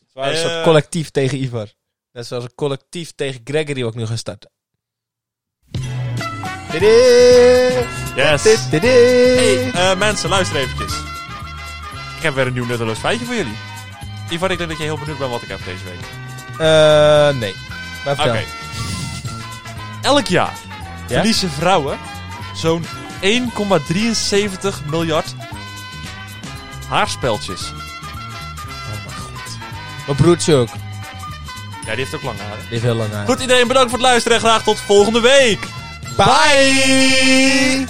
A: Het waren een
B: Eh.
A: soort collectief tegen Ivar. Net zoals een collectief tegen Gregory, wat ik nu ga starten. Tidu!
B: Yes.
A: Tidu!
B: Eh, mensen, luister eventjes. Ik heb weer een nieuw nutteloos feitje voor jullie. Ivar, ik denk dat je heel benieuwd bent wat ik heb deze week.
A: Eh, nee. Maar
B: Oké.
A: vertel.
B: Elk jaar
A: Ja?
B: verliezen vrouwen zo'n 1,73 miljard haarspeltjes.
A: Oh mijn god. Mijn broertje ook. Die
B: Ja, die heeft ook lange haren.
A: heeft heel lang aan.
B: Goed iedereen, bedankt voor het luisteren en graag tot volgende week.
A: Bye!